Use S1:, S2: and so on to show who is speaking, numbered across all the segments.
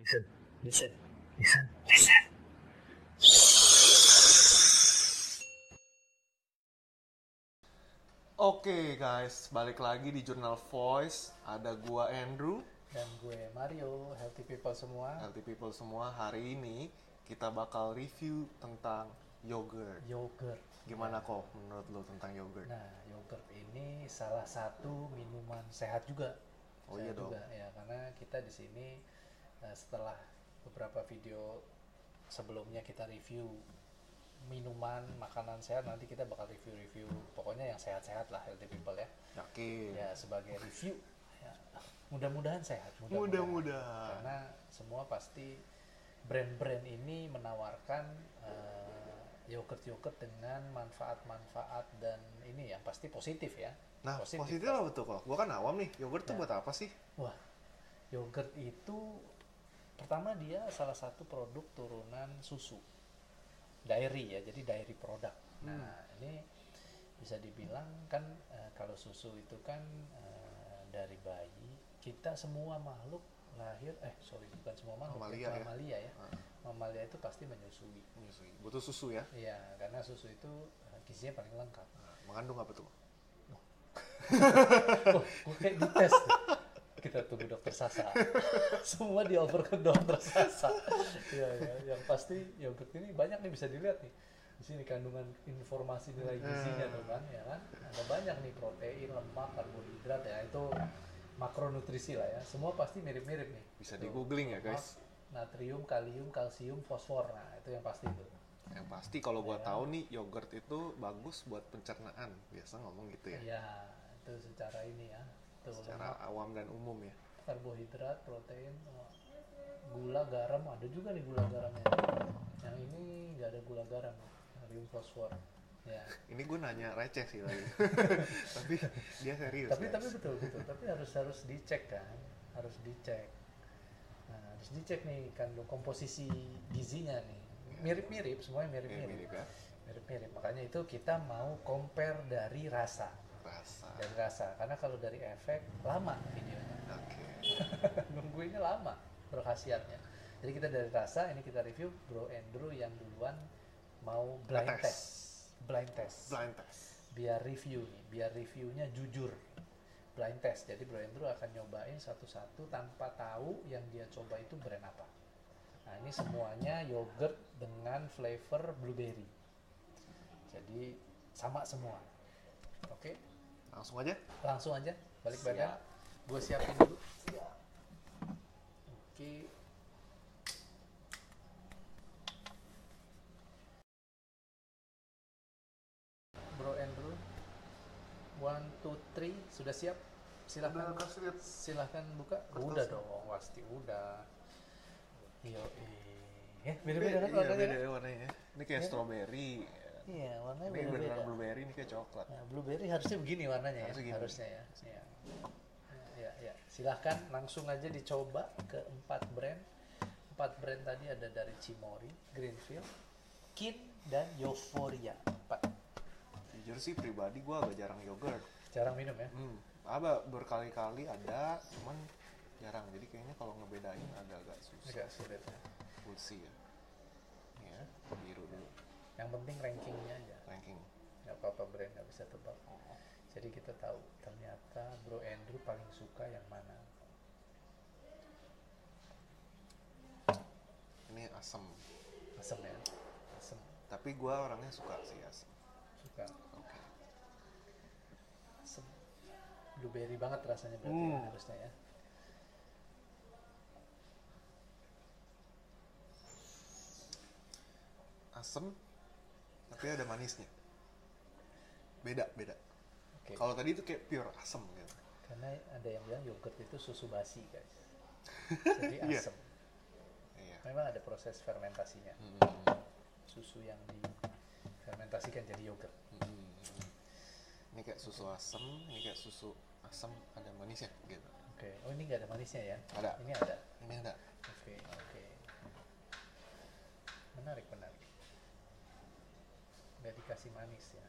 S1: Listen, listen, listen, listen.
S2: Oke guys, balik lagi di Jurnal Voice. Ada gua Andrew,
S1: Dan gue Mario, healthy people semua.
S2: healthy people semua. Hari ini kita bakal review tentang yogurt.
S1: Yogurt.
S2: Gimana kok menurut lo tentang yogurt?
S1: Nah, yogurt ini salah satu minuman sehat juga.
S2: Oh iya
S1: Sehat
S2: dong.
S1: juga, Ya, karena kita di sini eh, setelah beberapa video sebelumnya kita review minuman, makanan sehat, nanti kita bakal review-review pokoknya yang sehat-sehat lah healthy people ya.
S2: Yakin?
S1: Ya, sebagai review. Ya, Mudah-mudahan sehat.
S2: Mudah-mudahan.
S1: karena semua pasti brand-brand ini menawarkan eh, yogurt-yogurt dengan manfaat-manfaat dan ini yang pasti positif Iya. ya.
S2: Nah, positifnya apa tuh kok? Gua kan awam nih. Yogurt tuh buat apa sih?
S1: Wah, yogurt itu pertama dia salah satu produk turunan susu. Dairy ya, jadi dairy produk.
S2: Hmm.
S1: Nah, ini bisa dibilang kan eh, kalau susu itu kan eh, dari bayi kita semua makhluk lahir eh sorry bukan semua makhluk
S2: Mamalia ya.
S1: mamalia ya.
S2: Ah.
S1: Mamalia itu pasti menyusui.
S2: Menyusui. Butuh susu ya?
S1: Iya, karena susu itu eh, gizinya paling lengkap.
S2: Nah, Mengandung apa tuh?
S1: Wah, gue Oh, kayak dites. tuh. Kita tunggu dokter Sasa. Semua dioper ke dokter Sasa. Iya, ya. Yang pasti yogurt ini banyak nih bisa dilihat nih. Di sini kandungan informasi nilai gizinya tuh kan, ya kan? Ada banyak nih protein, lemak, karbohidrat ya itu makronutrisi lah ya. Semua pasti mirip-mirip nih.
S2: Bisa
S1: Tuh.
S2: di googling ya guys.
S1: Lemak, Natrium, kalium, kalsium, fosfor. Nah, itu yang pasti itu.
S2: Yang pasti kalau gua
S1: Iya.
S2: tahu nih yogurt itu bagus buat pencernaan. Biasa ngomong gitu ya.
S1: Iya, itu secara ini ya. Tuh, lemak,
S2: Secara awam dan umum ya.
S1: karbohidrat, protein, oh, gula, garam ada juga nih gula garamnya. Yang ini nggak ada gula garam, kalium fosfor. Ya.
S2: ini gue nanya receh sih lagi tapi dia serius
S1: Tapi
S2: guys.
S1: tapi betul betul. Tapi harus harus dicek kan, harus dicek. Nah, harus dicek nih kandung komposisi gizinya nih. Mirip-mirip, semuanya
S2: Ya, mirip
S1: mirip-mirip.
S2: ya
S1: Mirip-mirip. Makanya itu kita mau compare dari rasa,
S2: rasa
S1: dari rasa. Karena kalau dari efek lama videonya.
S2: oke
S1: nungguinnya lama berkhasiatnya jadi kita dari rasa ini kita review bro Andrew yang duluan mau blind
S2: Ngetes.
S1: test, blind test
S2: blind test
S1: biar review nih biar reviewnya jujur blind test jadi bro Andrew akan nyobain satu-satu tanpa tahu yang dia coba itu brand apa nah ini semuanya yogurt dengan flavor blueberry jadi sama semua oke
S2: langsung aja
S1: langsung aja balik
S2: Siap.
S1: badan gue siapin dulu oke bro Andrew one two three sudah siap silahkan
S2: Udah, kasih lihat.
S1: silahkan buka
S2: Kertasnya.
S1: udah dong pasti udah yo eh beda-beda kan
S2: Iya,
S1: warnanya
S2: beda
S1: kan?
S2: ya warnanya ini kayak strawberry
S1: iya warnanya
S2: ini
S1: beda-beda
S2: beneran blueberry ini kayak coklat
S1: Nah, blueberry harusnya begini warnanya
S2: Harusnya
S1: ya,
S2: gini.
S1: harusnya ya. Iya. Ya, ya. Silahkan langsung aja dicoba ke empat brand. Empat brand tadi ada dari Cimori, Greenfield, Kin, dan Euphoria. Empat.
S2: jujur sih pribadi gue agak jarang yogurt
S1: Jarang minum ya.
S2: hmm. apa berkali-kali ada cuman jarang jadi kayaknya kalau ngebedain agak-agak susah
S1: Agak sulit. ya.
S2: kursi ya ya biru dulu
S1: Yang penting rankingnya aja.
S2: ranking
S1: Gak apa-apa brand nggak bisa tebak. Jadi kita tahu ternyata Bro Andrew paling suka yang mana.
S2: ini asem
S1: Asem ya. Asem.
S2: tapi gue orangnya suka sih asem
S1: Suka.
S2: oke
S1: Asem. Blueberry banget rasanya berarti ya,
S2: Hmm.
S1: harusnya ya.
S2: asem tapi ada manisnya beda beda
S1: Oke.
S2: kalau tadi itu kayak pure asem gitu
S1: Karena ada yang bilang yogurt itu susu basi, guys. Jadi
S2: Iya.
S1: asam.
S2: iya
S1: Memang ada proses fermentasinya.
S2: Mm,
S1: Susu yang difermentasikan jadi yogurt.
S2: mm, mm. hmm. ini kayak susu asem ini kayak susu asem ada manisnya gitu
S1: Oke. Oh, ini nggak ada manisnya ya?
S2: Ada.
S1: Ini ada.
S2: ini ada
S1: Oke, oke. Menarik, menarik. Nggak dikasih manis ya.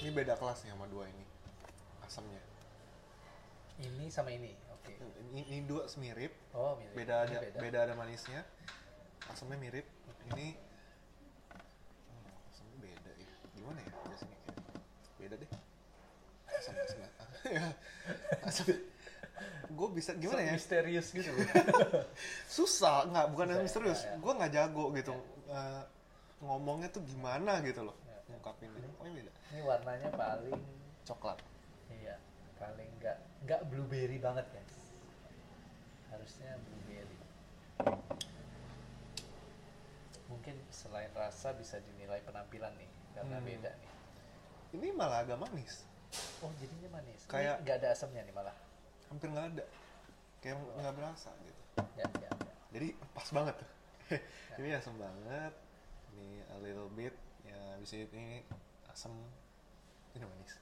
S2: ini beda kelas nih sama dua ini asemnya
S1: Ini sama ini. Oke.
S2: Ini, ini dua mirip,
S1: Oh, mirip.
S2: beda
S1: Ini
S2: ada beda ada manisnya. Asamnya mirip. Ini hmm, asamnya beda ya. Gimana ya rasanya? kayak- Beda deh. Asam asam. ya. Asam. Gue bisa gimana
S1: Sampai
S2: ya?
S1: Misterius gitu.
S2: Susah nggak? Bukan
S1: Susah ya,
S2: misterius.
S1: ya, ya.
S2: Gue nggak jago gitu. Eh, ngomongnya tuh gimana gitu loh.
S1: Ya, ya.
S2: Ngungkapinnya. Pokoknya beda.
S1: ini warnanya paling
S2: Coklat.
S1: iya, paling nggak nggak blueberry banget, guys. Harusnya blueberry. Mungkin selain rasa bisa dinilai penampilan nih, karena
S2: Hmm.
S1: beda nih.
S2: Ini malah agak manis.
S1: Oh, jadinya manis. Ini
S2: Kayak-
S1: nggak ada asamnya nih malah.
S2: Hampir nggak ada. Kayak nggak berasa gitu.
S1: Ya, ya, ya.
S2: jadi pas banget tuh ini asam banget ini a little bit ya bisa ini asam ini manis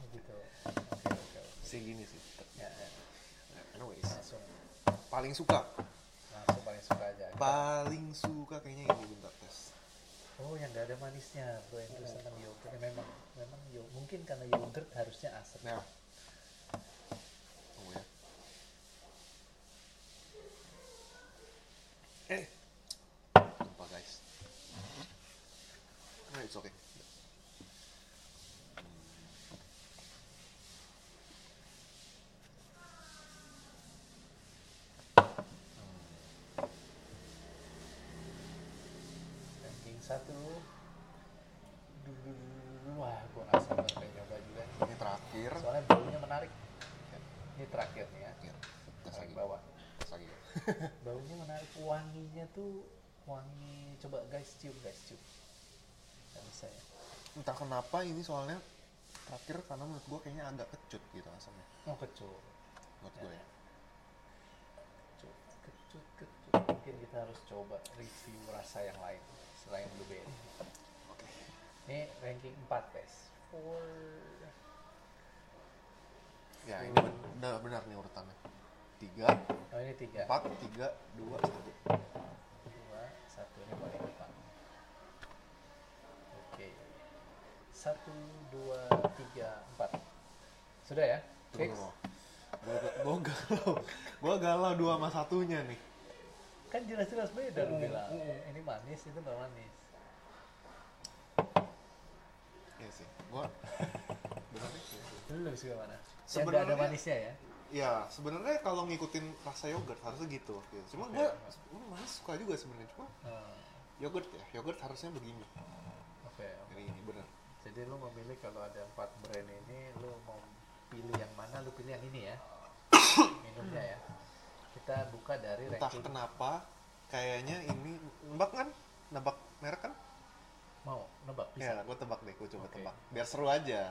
S1: Oh, gitu. Oke, oke, oke.
S2: sih gini sih
S1: Ya, ya.
S2: anyways
S1: Langsung
S2: paling suka
S1: langsung paling suka aja.
S2: paling suka kayaknya ini bentar tes
S1: Oh, yang nggak ada manisnya, bro. Yang terus tentang yogurt. Ya, memang, memang yo mungkin karena yogurt harusnya asam.
S2: nah tunggu ya eh lupa guys nah it's okay
S1: Ranking satu. Dulu, wah, gua nggak sabar pengen nyoba juga. nih.
S2: ini terakhir
S1: Soalnya baunya menarik. Ini terakhir nih ya.
S2: Iya, Terakhir. tes lagi
S1: Paling bawah.
S2: tes lagi
S1: Baunya menarik. Wanginya tuh wangi. Coba guys cium, guys cium. Gak bisa ya.
S2: entah kenapa ini soalnya terakhir karena menurut gue kayaknya agak kecut gitu asamnya
S1: Oh, kecut.
S2: menurut
S1: Ya.
S2: gue ya
S1: Kecut, kecut, kecut. Mungkin kita harus coba review rasa yang lain selain blueberry.
S2: oke
S1: Ini ranking 4 guys. Four.
S2: ya ini ben- benar benar nih urutannya tiga
S1: Oh ini tiga.
S2: empat tiga dua satu
S1: Dua, satu ini paling depan. Oke. Satu, dua, tiga, empat. Sudah ya? Fix?
S2: gue galau gue galau dua sama satunya nih
S1: Kan jelas-jelas beda lu
S2: Mm,
S1: bilang.
S2: mm.
S1: Ini manis, itu nggak manis.
S2: iya sih gue benar sih
S1: Lu lebih suka mana? Yang Ya, nggak ada
S2: Sebenarnya-
S1: manisnya ya?
S2: ya sebenarnya kalau ngikutin rasa yogurt harusnya gitu, gitu. cuma gue suka juga sebenarnya cuma
S1: Hmm,
S2: yogurt ya yogurt harusnya begini
S1: Oke. oke.
S2: ini ini benar
S1: Jadi lu memilih kalau ada empat brand ini, lu mau pilih yang mana? Lu pilih yang ini ya. Minumnya ya. Kita buka dari
S2: entah
S1: ranking
S2: kenapa kayaknya ini nebak kan nebak merek kan
S1: mau nebak bisa.
S2: ya gue tebak deh gue coba
S1: Oke.
S2: tebak biar seru aja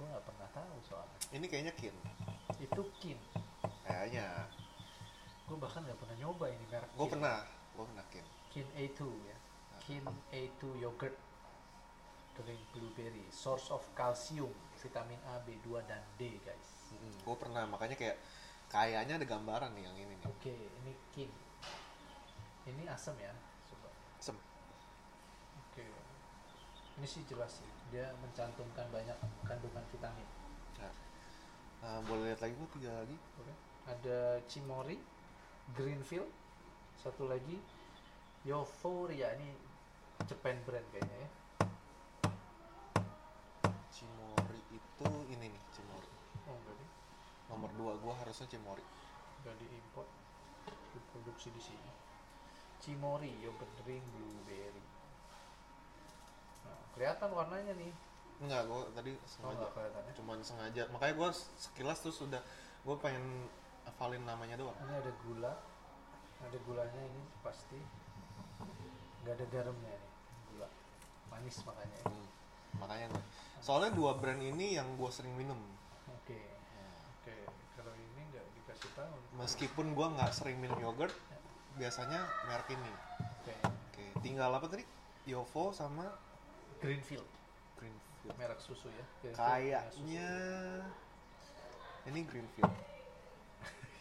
S1: Gue nggak pernah tahu soalnya.
S2: ini kayaknya kin
S1: Itu kin.
S2: kayaknya
S1: Gue bahkan nggak pernah nyoba ini merek.
S2: gue
S1: Kin.
S2: pernah gue pernah kin
S1: Kin A2 ya. Kin A2 yogurt. Drink blueberry. Source of calcium, vitamin A, B2 dan D guys.
S2: gue pernah makanya kayak kayaknya ada gambaran nih yang ini nih
S1: Oke, ini kin. Ini asam ya. Coba.
S2: Sem.
S1: Oke. Ini sih jelas sih. Dia mencantumkan banyak kandungan vitamin.
S2: Nah, nah, boleh lihat lagi gue tiga lagi
S1: Oke. Ada Cimori, Greenfield, satu lagi Euphoria ini Japan brand kayaknya ya.
S2: cimori itu ini nih cimori
S1: Oh, enggak deh.
S2: nomor dua gue harusnya cimori
S1: Enggak diimpor. Diproduksi di sini. Cimori yogurt drink blueberry. Nah, kelihatan warnanya nih.
S2: enggak gue tadi
S1: Oh,
S2: sengaja
S1: enggak kelihatan ya.
S2: cuman sengaja makanya gue sekilas terus udah gue pengen hafalin namanya doang
S1: Ini ada gula. Ada gulanya ini pasti. Enggak ada garamnya nih, gula. Manis makanya. ya.
S2: Hmm, makanya gue soalnya dua brand ini yang gue sering minum
S1: Oke. Oke, kalau ini nggak dikasih tahu.
S2: meskipun gue nggak sering minum yogurt biasanya merek ini
S1: Oke.
S2: oke tinggal apa tadi Yovo sama
S1: Greenfield,
S2: Greenfield
S1: merek susu ya. Greenfield punya susu.
S2: kayaknya ini Greenfield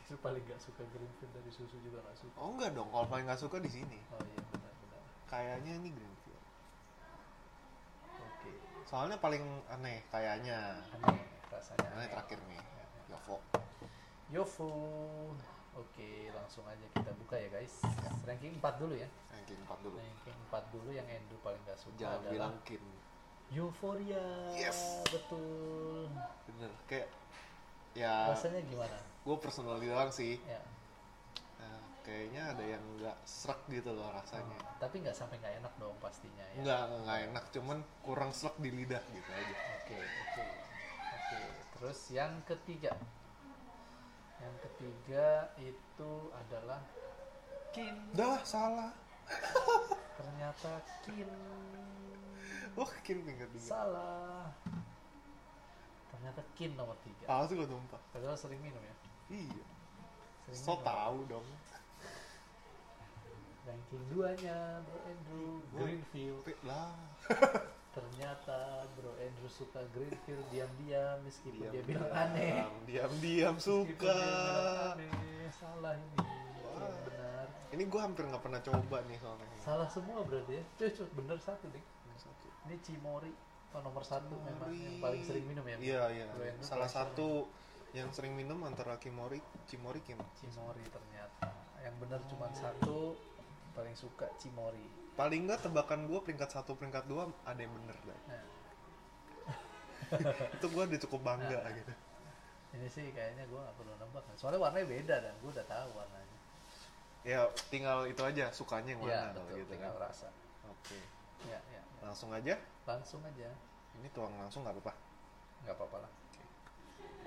S1: Lu paling nggak suka Greenfield dari susu juga nggak suka.
S2: oh enggak dong kalau paling nggak suka di sini
S1: Oh iya benar-benar.
S2: kayaknya ini Greenfield
S1: Oke.
S2: soalnya paling aneh kayaknya
S1: Aneh rasanya.
S2: aneh terakhir nih Yovo
S1: Yofu. Oke, langsung aja kita buka ya guys. Ranking 4 dulu ya.
S2: ranking 4 dulu
S1: Ranking 4 dulu yang Andrew paling gak suka
S2: jangan
S1: adalah
S2: bilang kin
S1: Euphoria.
S2: Yes.
S1: Betul.
S2: bener kayak ya
S1: Rasanya gimana?
S2: gue personal bilang sih
S1: Ya.
S2: eh, kayaknya ada yang nggak serak gitu loh rasanya
S1: Tapi nggak sampai nggak enak dong pastinya ya.
S2: nggak nggak enak cuman kurang serak di lidah gitu aja
S1: Oke, oke. Oke, terus yang ketiga. Yang ketiga itu adalah Kin.
S2: dah salah
S1: Ternyata Kin
S2: wah kin pinggir tiga
S1: salah. Ternyata Kin nomor tiga.
S2: tahu sih gue tumpah
S1: Padahal sering minum ya.
S2: iya
S1: Sering
S2: so
S1: minum.
S2: tahu dong
S1: Ranking 2-nya Bro Andrew
S2: Gua-
S1: Greenfield.
S2: Tapi lah
S1: Ternyata Bro Andrew suka Greenfield diam-diam meskipun dia
S2: diam-diam,
S1: bilang aneh.
S2: diam-diam
S1: Meskipun dia
S2: suka
S1: bilang aneh. Salah ini. Oke,
S2: Wah.
S1: benar.
S2: ini gue hampir nggak pernah coba nih soalnya
S1: Salah semua berarti ya. Cuy, cuy, bener satu nih.
S2: Yang satu.
S1: Ini Cimori oh, nomor satu memang yang
S2: Cimori.
S1: paling sering minum ya. Bro?
S2: Iya iya.
S1: Bro Andrew
S2: Salah
S1: paling sering.
S2: satu yang sering minum antara Kimori, Cimori Kim.
S1: Cimori ternyata. Yang bener cuma satu paling suka Cimori.
S2: Paling nggak tebakan gue peringkat satu peringkat dua ada yang bener deh.
S1: Nah,
S2: Itu gue udah cukup bangga
S1: Nah.
S2: gitu.
S1: ini sih kayaknya gue gak perlu nembak. kan. Soalnya warnanya beda dan gue udah tahu warnanya.
S2: Ya tinggal itu aja sukanya yang
S1: Iya
S2: mana kalau
S1: betul,
S2: gitu kan.
S1: tinggal rasa.
S2: Oke.
S1: Ya, ya, ya.
S2: Langsung aja.
S1: Langsung aja,
S2: Ini tuang langsung nggak apa-apa.
S1: nggak apa-apa lah.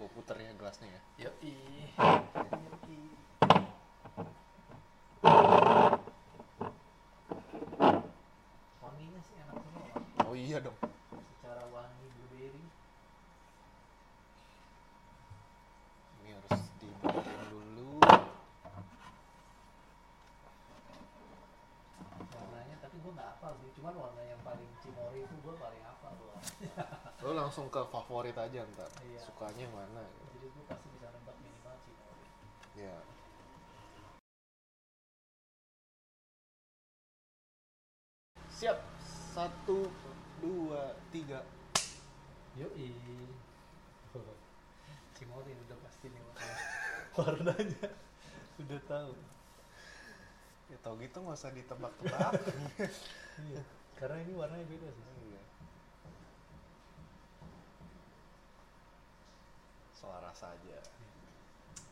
S2: Gue puternya gelasnya ya.
S1: Yoi. Yoi. Wanginya sih enak semua, Bang.
S2: Oh iya dong.
S1: secara wangi blueberry.
S2: Ini harus dibalikin dulu.
S1: warnanya tapi gue nggak hafal sih cuman warna yang paling cimori itu gue paling hafal loh
S2: Lo langsung ke favorit aja ntar.
S1: Iya.
S2: Sukanya yang mana? Gitu.
S1: jadi gue pasti bisa nembak minimal cimori
S2: Ya. Siap. Satu, dua, tiga.
S1: yoi cimori udah pasti nih warna- warnanya udah tahu
S2: Ya tau gitu nggak usah ditebak-tebak.
S1: iya karena ini warnanya beda sih
S2: Iya. Soal rasa aja.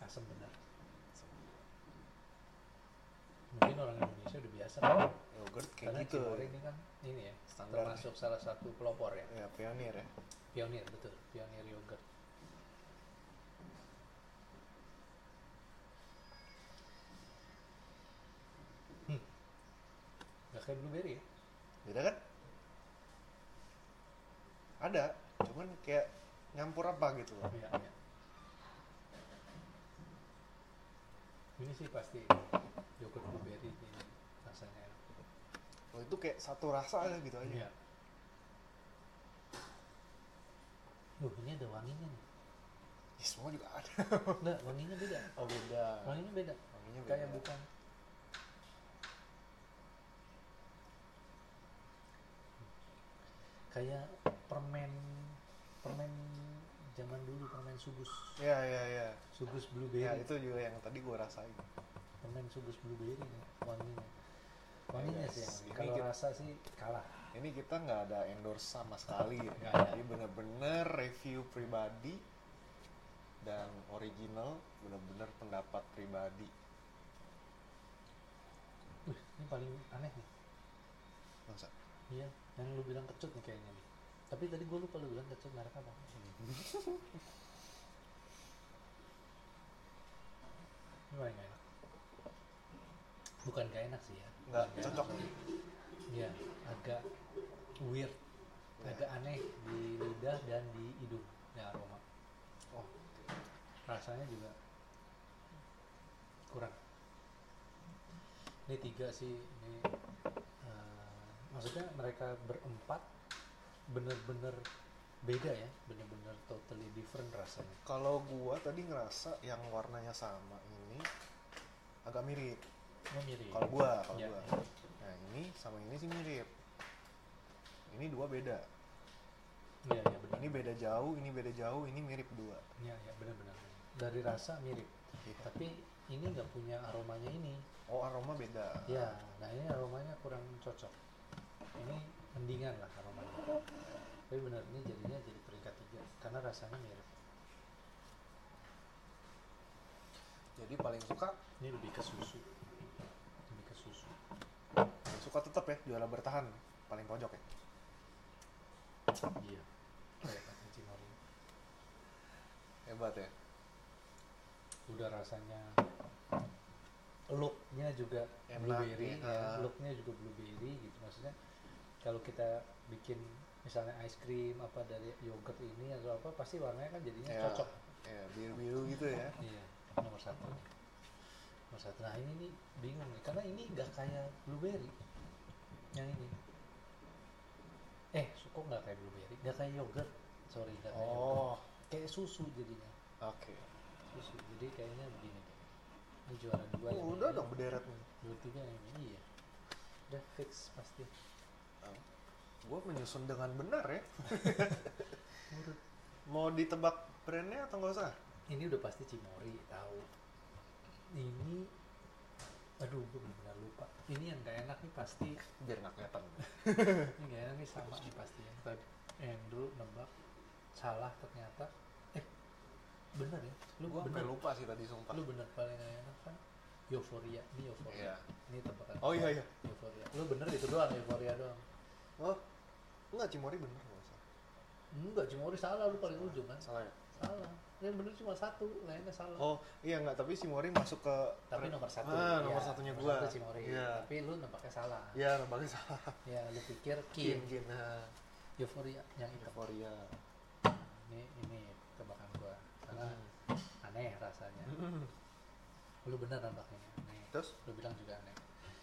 S1: asam benar mungkin orang Indonesia udah biasa kan?
S2: Yogurt
S1: karena
S2: kayak gitu.
S1: cimori ini kan ini ya
S2: Standar.
S1: termasuk salah satu pelopor ya
S2: Ya pionir ya.
S1: pionir betul pionir yogurt hmm. gak kayak blueberry ya
S2: Beda kan? Ada, cuman kayak nyampur apa gitu loh.
S1: iya iya ini sih pasti yogurt blueberry ini rasanya enak
S2: Oh, itu kayak satu rasa aja gitu aja.
S1: iya Duh, ini ada wanginya nih.
S2: Ya, semua juga ada.
S1: Enggak, wanginya beda.
S2: Oh beda.
S1: Wanginya beda.
S2: Wanginya beda.
S1: Kayak bukan. Kayak permen permen zaman dulu permen sugus
S2: Ya ya ya.
S1: sugus
S2: Ya
S1: blueberry
S2: itu juga yang tadi gue rasain.
S1: permen sugus blueberry nih wanginya wanginya
S2: guys,
S1: sih yang-
S2: Iya, ini
S1: kalau
S2: kita-
S1: rasa sih kalah
S2: Ini kita nggak ada endorse sama sekali. ya.
S1: Nggak ada.
S2: Jadi bener-bener review pribadi dan original bener-bener pendapat pribadi.
S1: Wih, ini paling aneh nih
S2: Masa?
S1: iya yang lu bilang kecut nih kayaknya nih tapi tadi gue lupa lu bilang kecut merek apa ini paling nggak enak bukan gak enak sih ya
S2: Nggak
S1: Bukan nggak
S2: cocok.
S1: enak. Iya, agak weird
S2: Ya.
S1: agak aneh di lidah dan di hidung ya aroma
S2: Oh,
S1: rasanya juga kurang ini tiga sih ini eh, maksudnya mereka berempat bener-bener beda ya bener-bener totally different rasanya
S2: kalau gua tadi ngerasa yang warnanya sama ini agak mirip.
S1: oh, mirip
S2: Kalau gua, kalau
S1: Iya.
S2: gua. Nah ini sama ini sih mirip. Ini dua beda.
S1: iya iya benar
S2: Ini beda jauh, ini beda jauh, ini mirip dua.
S1: iya iya benar-benar dari rasa mirip
S2: Iya.
S1: tapi ini nggak punya aromanya ini
S2: Oh aroma beda.
S1: ya nah ini aromanya kurang cocok ini mendingan lah aromanya tapi benar ini jadinya jadi peringkat tiga karena rasanya mirip
S2: Jadi paling suka
S1: ini lebih ke susu lebih ke susu
S2: paling suka tetap ya juara bertahan paling pojok ya.
S1: iya kayak kata Cimori.
S2: Hebat ya.
S1: udah rasanya looknya juga
S2: Enak,
S1: blueberry
S2: ya.
S1: ya, looknya juga blueberry gitu maksudnya kalau kita bikin misalnya ice cream apa dari yogurt ini atau apa pasti warnanya kan jadinya
S2: Ya,
S1: cocok
S2: Ya biru biru gitu ya.
S1: iya nomor satu nih. nomor satu nah ini nih bingung nih karena ini nggak kayak blueberry yang ini eh su- kok nggak kayak blueberry nggak kayak yogurt sorry nggak kayak yogurt.
S2: Oh
S1: kayak susu jadinya
S2: oke.
S1: susu jadi kayaknya begini deh. ini juara dua yang
S2: Oh, udah
S1: ini.
S2: dong berderet nih.
S1: dua tiga yang ini ya udah fix pasti
S2: Gue menyusun dengan benar ya.
S1: Menurut
S2: Mau ditebak brandnya atau nggak usah?
S1: ini udah pasti Cimori tahu ini aduh gue benar lupa ini yang gak enak nih pasti
S2: Biar nggak kelihatan.
S1: ini gak enak nih sama nih pasti yang tadi yang dulu nebak salah ternyata eh bener ya lu
S2: Gue sampai
S1: bener
S2: lupa sih tadi sumpah.
S1: lu bener paling gak enak kan euforia ini euforia
S2: Iya.
S1: ini tebakan
S2: Oh iya iya.
S1: euforia lu bener itu doang euforia doang
S2: Oh nggak Cimori bener nggak usah.
S1: enggak Cimori salah lu paling ujung kan
S2: Salah ya.
S1: salah yang bener cuma satu lainnya salah
S2: Oh iya nggak tapi Cimori masuk ke
S1: tapi nomor satu
S2: Ah, nomor
S1: Iya,
S2: satunya
S1: nomor
S2: gua.
S1: satu Cimory.
S2: Iya.
S1: tapi lu nampaknya salah ya,
S2: Ya lembaga salah.
S1: lu pikir Kim
S2: Kim. Nah,
S1: Euphoria yang itu
S2: Euphoria.
S1: ini ini tebakan gua karena aneh rasanya
S2: Hmm.
S1: lu bener nampaknya aneh
S2: Terus
S1: lu bilang juga aneh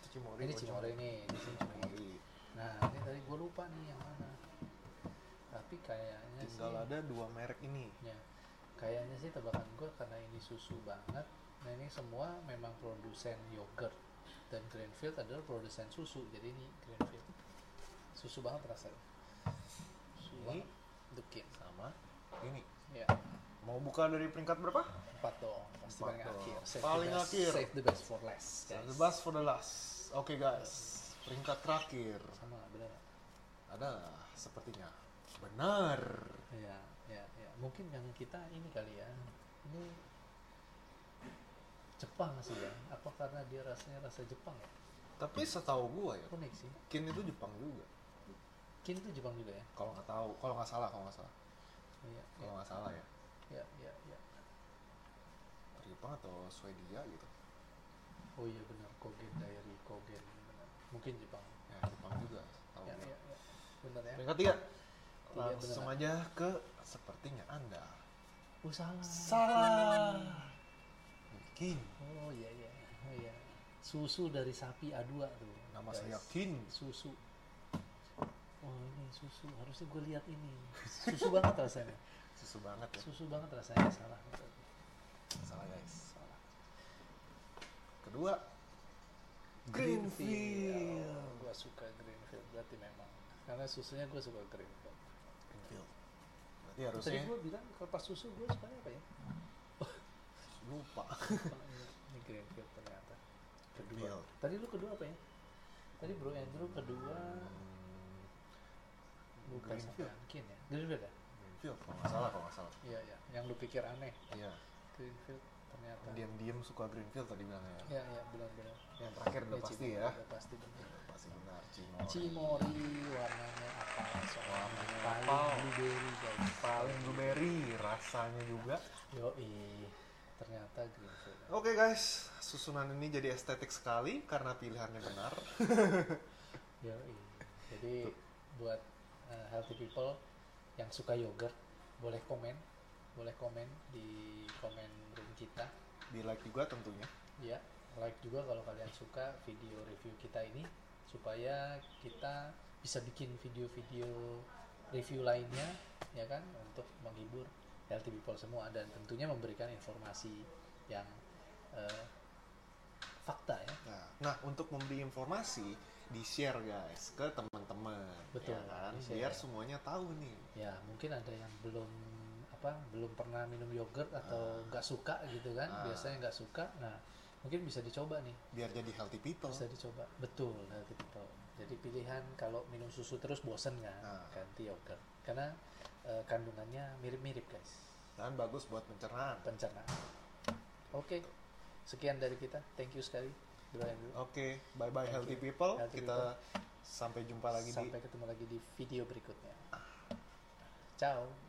S2: itu Cimori.
S1: ini
S2: gua
S1: Cimory
S2: coba.
S1: nih ini Cimory
S2: Cimori.
S1: nah ini tadi gua lupa nih yang mana tapi kayaknya
S2: Tinggal
S1: sih
S2: ada dua merek ini.
S1: ya, kayaknya sih tebakan gua karena ini susu banget nah ini semua memang produsen yogurt dan Greenfield adalah produsen susu jadi ini Greenfield susu banget rasanya susu
S2: Ini?
S1: banget dukin
S2: Sama. Ini.
S1: ya
S2: Mau buka dari peringkat berapa?
S1: empat dong pasti
S2: Empat
S1: paling akhir
S2: dong.
S1: save
S2: Paling
S1: the best,
S2: akhir.
S1: save the best for last
S2: Save
S1: guys.
S2: The best for the last. Oke guys, peringkat terakhir
S1: sama nggak? bener nggak?
S2: ada sepertinya benar.
S1: ya ya ya mungkin yang kita ini kali ya ini Jepang sih ya apa karena dia rasanya rasa Jepang ya
S2: Tapi setahu gua ya,
S1: unik sih
S2: Kin itu Jepang juga.
S1: Kin itu Jepang juga ya
S2: Kalau nggak tahu, kalau nggak salah, kalau nggak salah,
S1: Iya,
S2: kalau nggak salah ya.
S1: iya, iya, iya.
S2: Dari Jepang atau Swedia gitu.
S1: Oh iya benar, Kogen Diary, Kogen benar. Mungkin Jepang.
S2: Ya Jepang juga. Tahu
S1: Ya,
S2: gua.
S1: ya, ya. Benar ya.
S2: Peringkat tiga.
S1: Tiga,
S2: Langsung
S1: benar.
S2: aja ke sepertinya anda.
S1: Oh salah.
S2: Kin.
S1: Oh iya iya. Oh iya. Susu dari sapi A2 tuh.
S2: Nama
S1: guys.
S2: saya Kin.
S1: Susu. Oh ini susu, harusnya gue lihat ini. Susu banget rasanya.
S2: Susu banget ya.
S1: Susu banget rasanya salah.
S2: Salah guys.
S1: Salah.
S2: Kedua. Greenfield.
S1: Gue suka Greenfield berarti memang. Karena susunya gue suka Greenfield.
S2: Greenfield. Berarti
S1: Tadi
S2: harusnya
S1: gue bilang kertas susu gue sukanya apa ya?
S2: lupa.
S1: ini Greenfield ternyata kedua
S2: Greenfield.
S1: tadi lu kedua apa ya tadi bro Andrew kedua lupa
S2: Greenfield.
S1: sama Ankin ya Greenfield ya
S2: Greenfield kalau nggak salah kalau nggak salah.
S1: iya iya yang lu pikir aneh
S2: Iya.
S1: Greenfield ternyata
S2: Diam-diam suka Greenfield tadi bilangnya.
S1: iya iya benar-benar
S2: Yang terakhir udah
S1: Iya,
S2: pasti
S1: Cimori,
S2: ya.
S1: udah pasti benar
S2: Pasti benar. Cimori.
S1: Cimori warnanya apa soalnya
S2: Warnanya
S1: paling
S2: apa?
S1: blueberry guys
S2: Paling blueberry rasanya juga.
S1: yoi ternyata Greenfield
S2: Oke guys, susunan ini jadi estetik sekali karena pilihannya benar.
S1: Yoi. Jadi buat uh, healthy people yang suka yogurt boleh komen, boleh komen di komen room kita.
S2: Di like juga tentunya.
S1: Ya, like juga kalau kalian suka video review kita ini supaya kita bisa bikin video-video review lainnya ya kan untuk menghibur healthy people semua dan tentunya memberikan informasi yang uh, fakta ya.
S2: Nah, nah, untuk memberi informasi di share guys ke teman-teman.
S1: Betul,
S2: ya kan?
S1: di-share.
S2: Biar semuanya tahu nih.
S1: Ya, mungkin ada yang belum apa belum pernah minum yogurt atau nggak suka gitu kan
S2: Ah.
S1: biasanya nggak suka nah mungkin bisa dicoba nih
S2: biar jadi healthy people
S1: bisa dicoba betul healthy people jadi pilihan kalau minum susu terus bosen kan
S2: Ah.
S1: ganti yogurt karena eh, kandungannya mirip-mirip guys
S2: dan bagus buat pencernaan oke
S1: pencernaan oke sekian dari kita thank you sekali doain dulu
S2: bye bye
S1: Thank
S2: healthy
S1: you.
S2: people
S1: Healthy
S2: kita sampai jumpa Oh, lagi di
S1: sampai ketemu lagi di video berikutnya ciao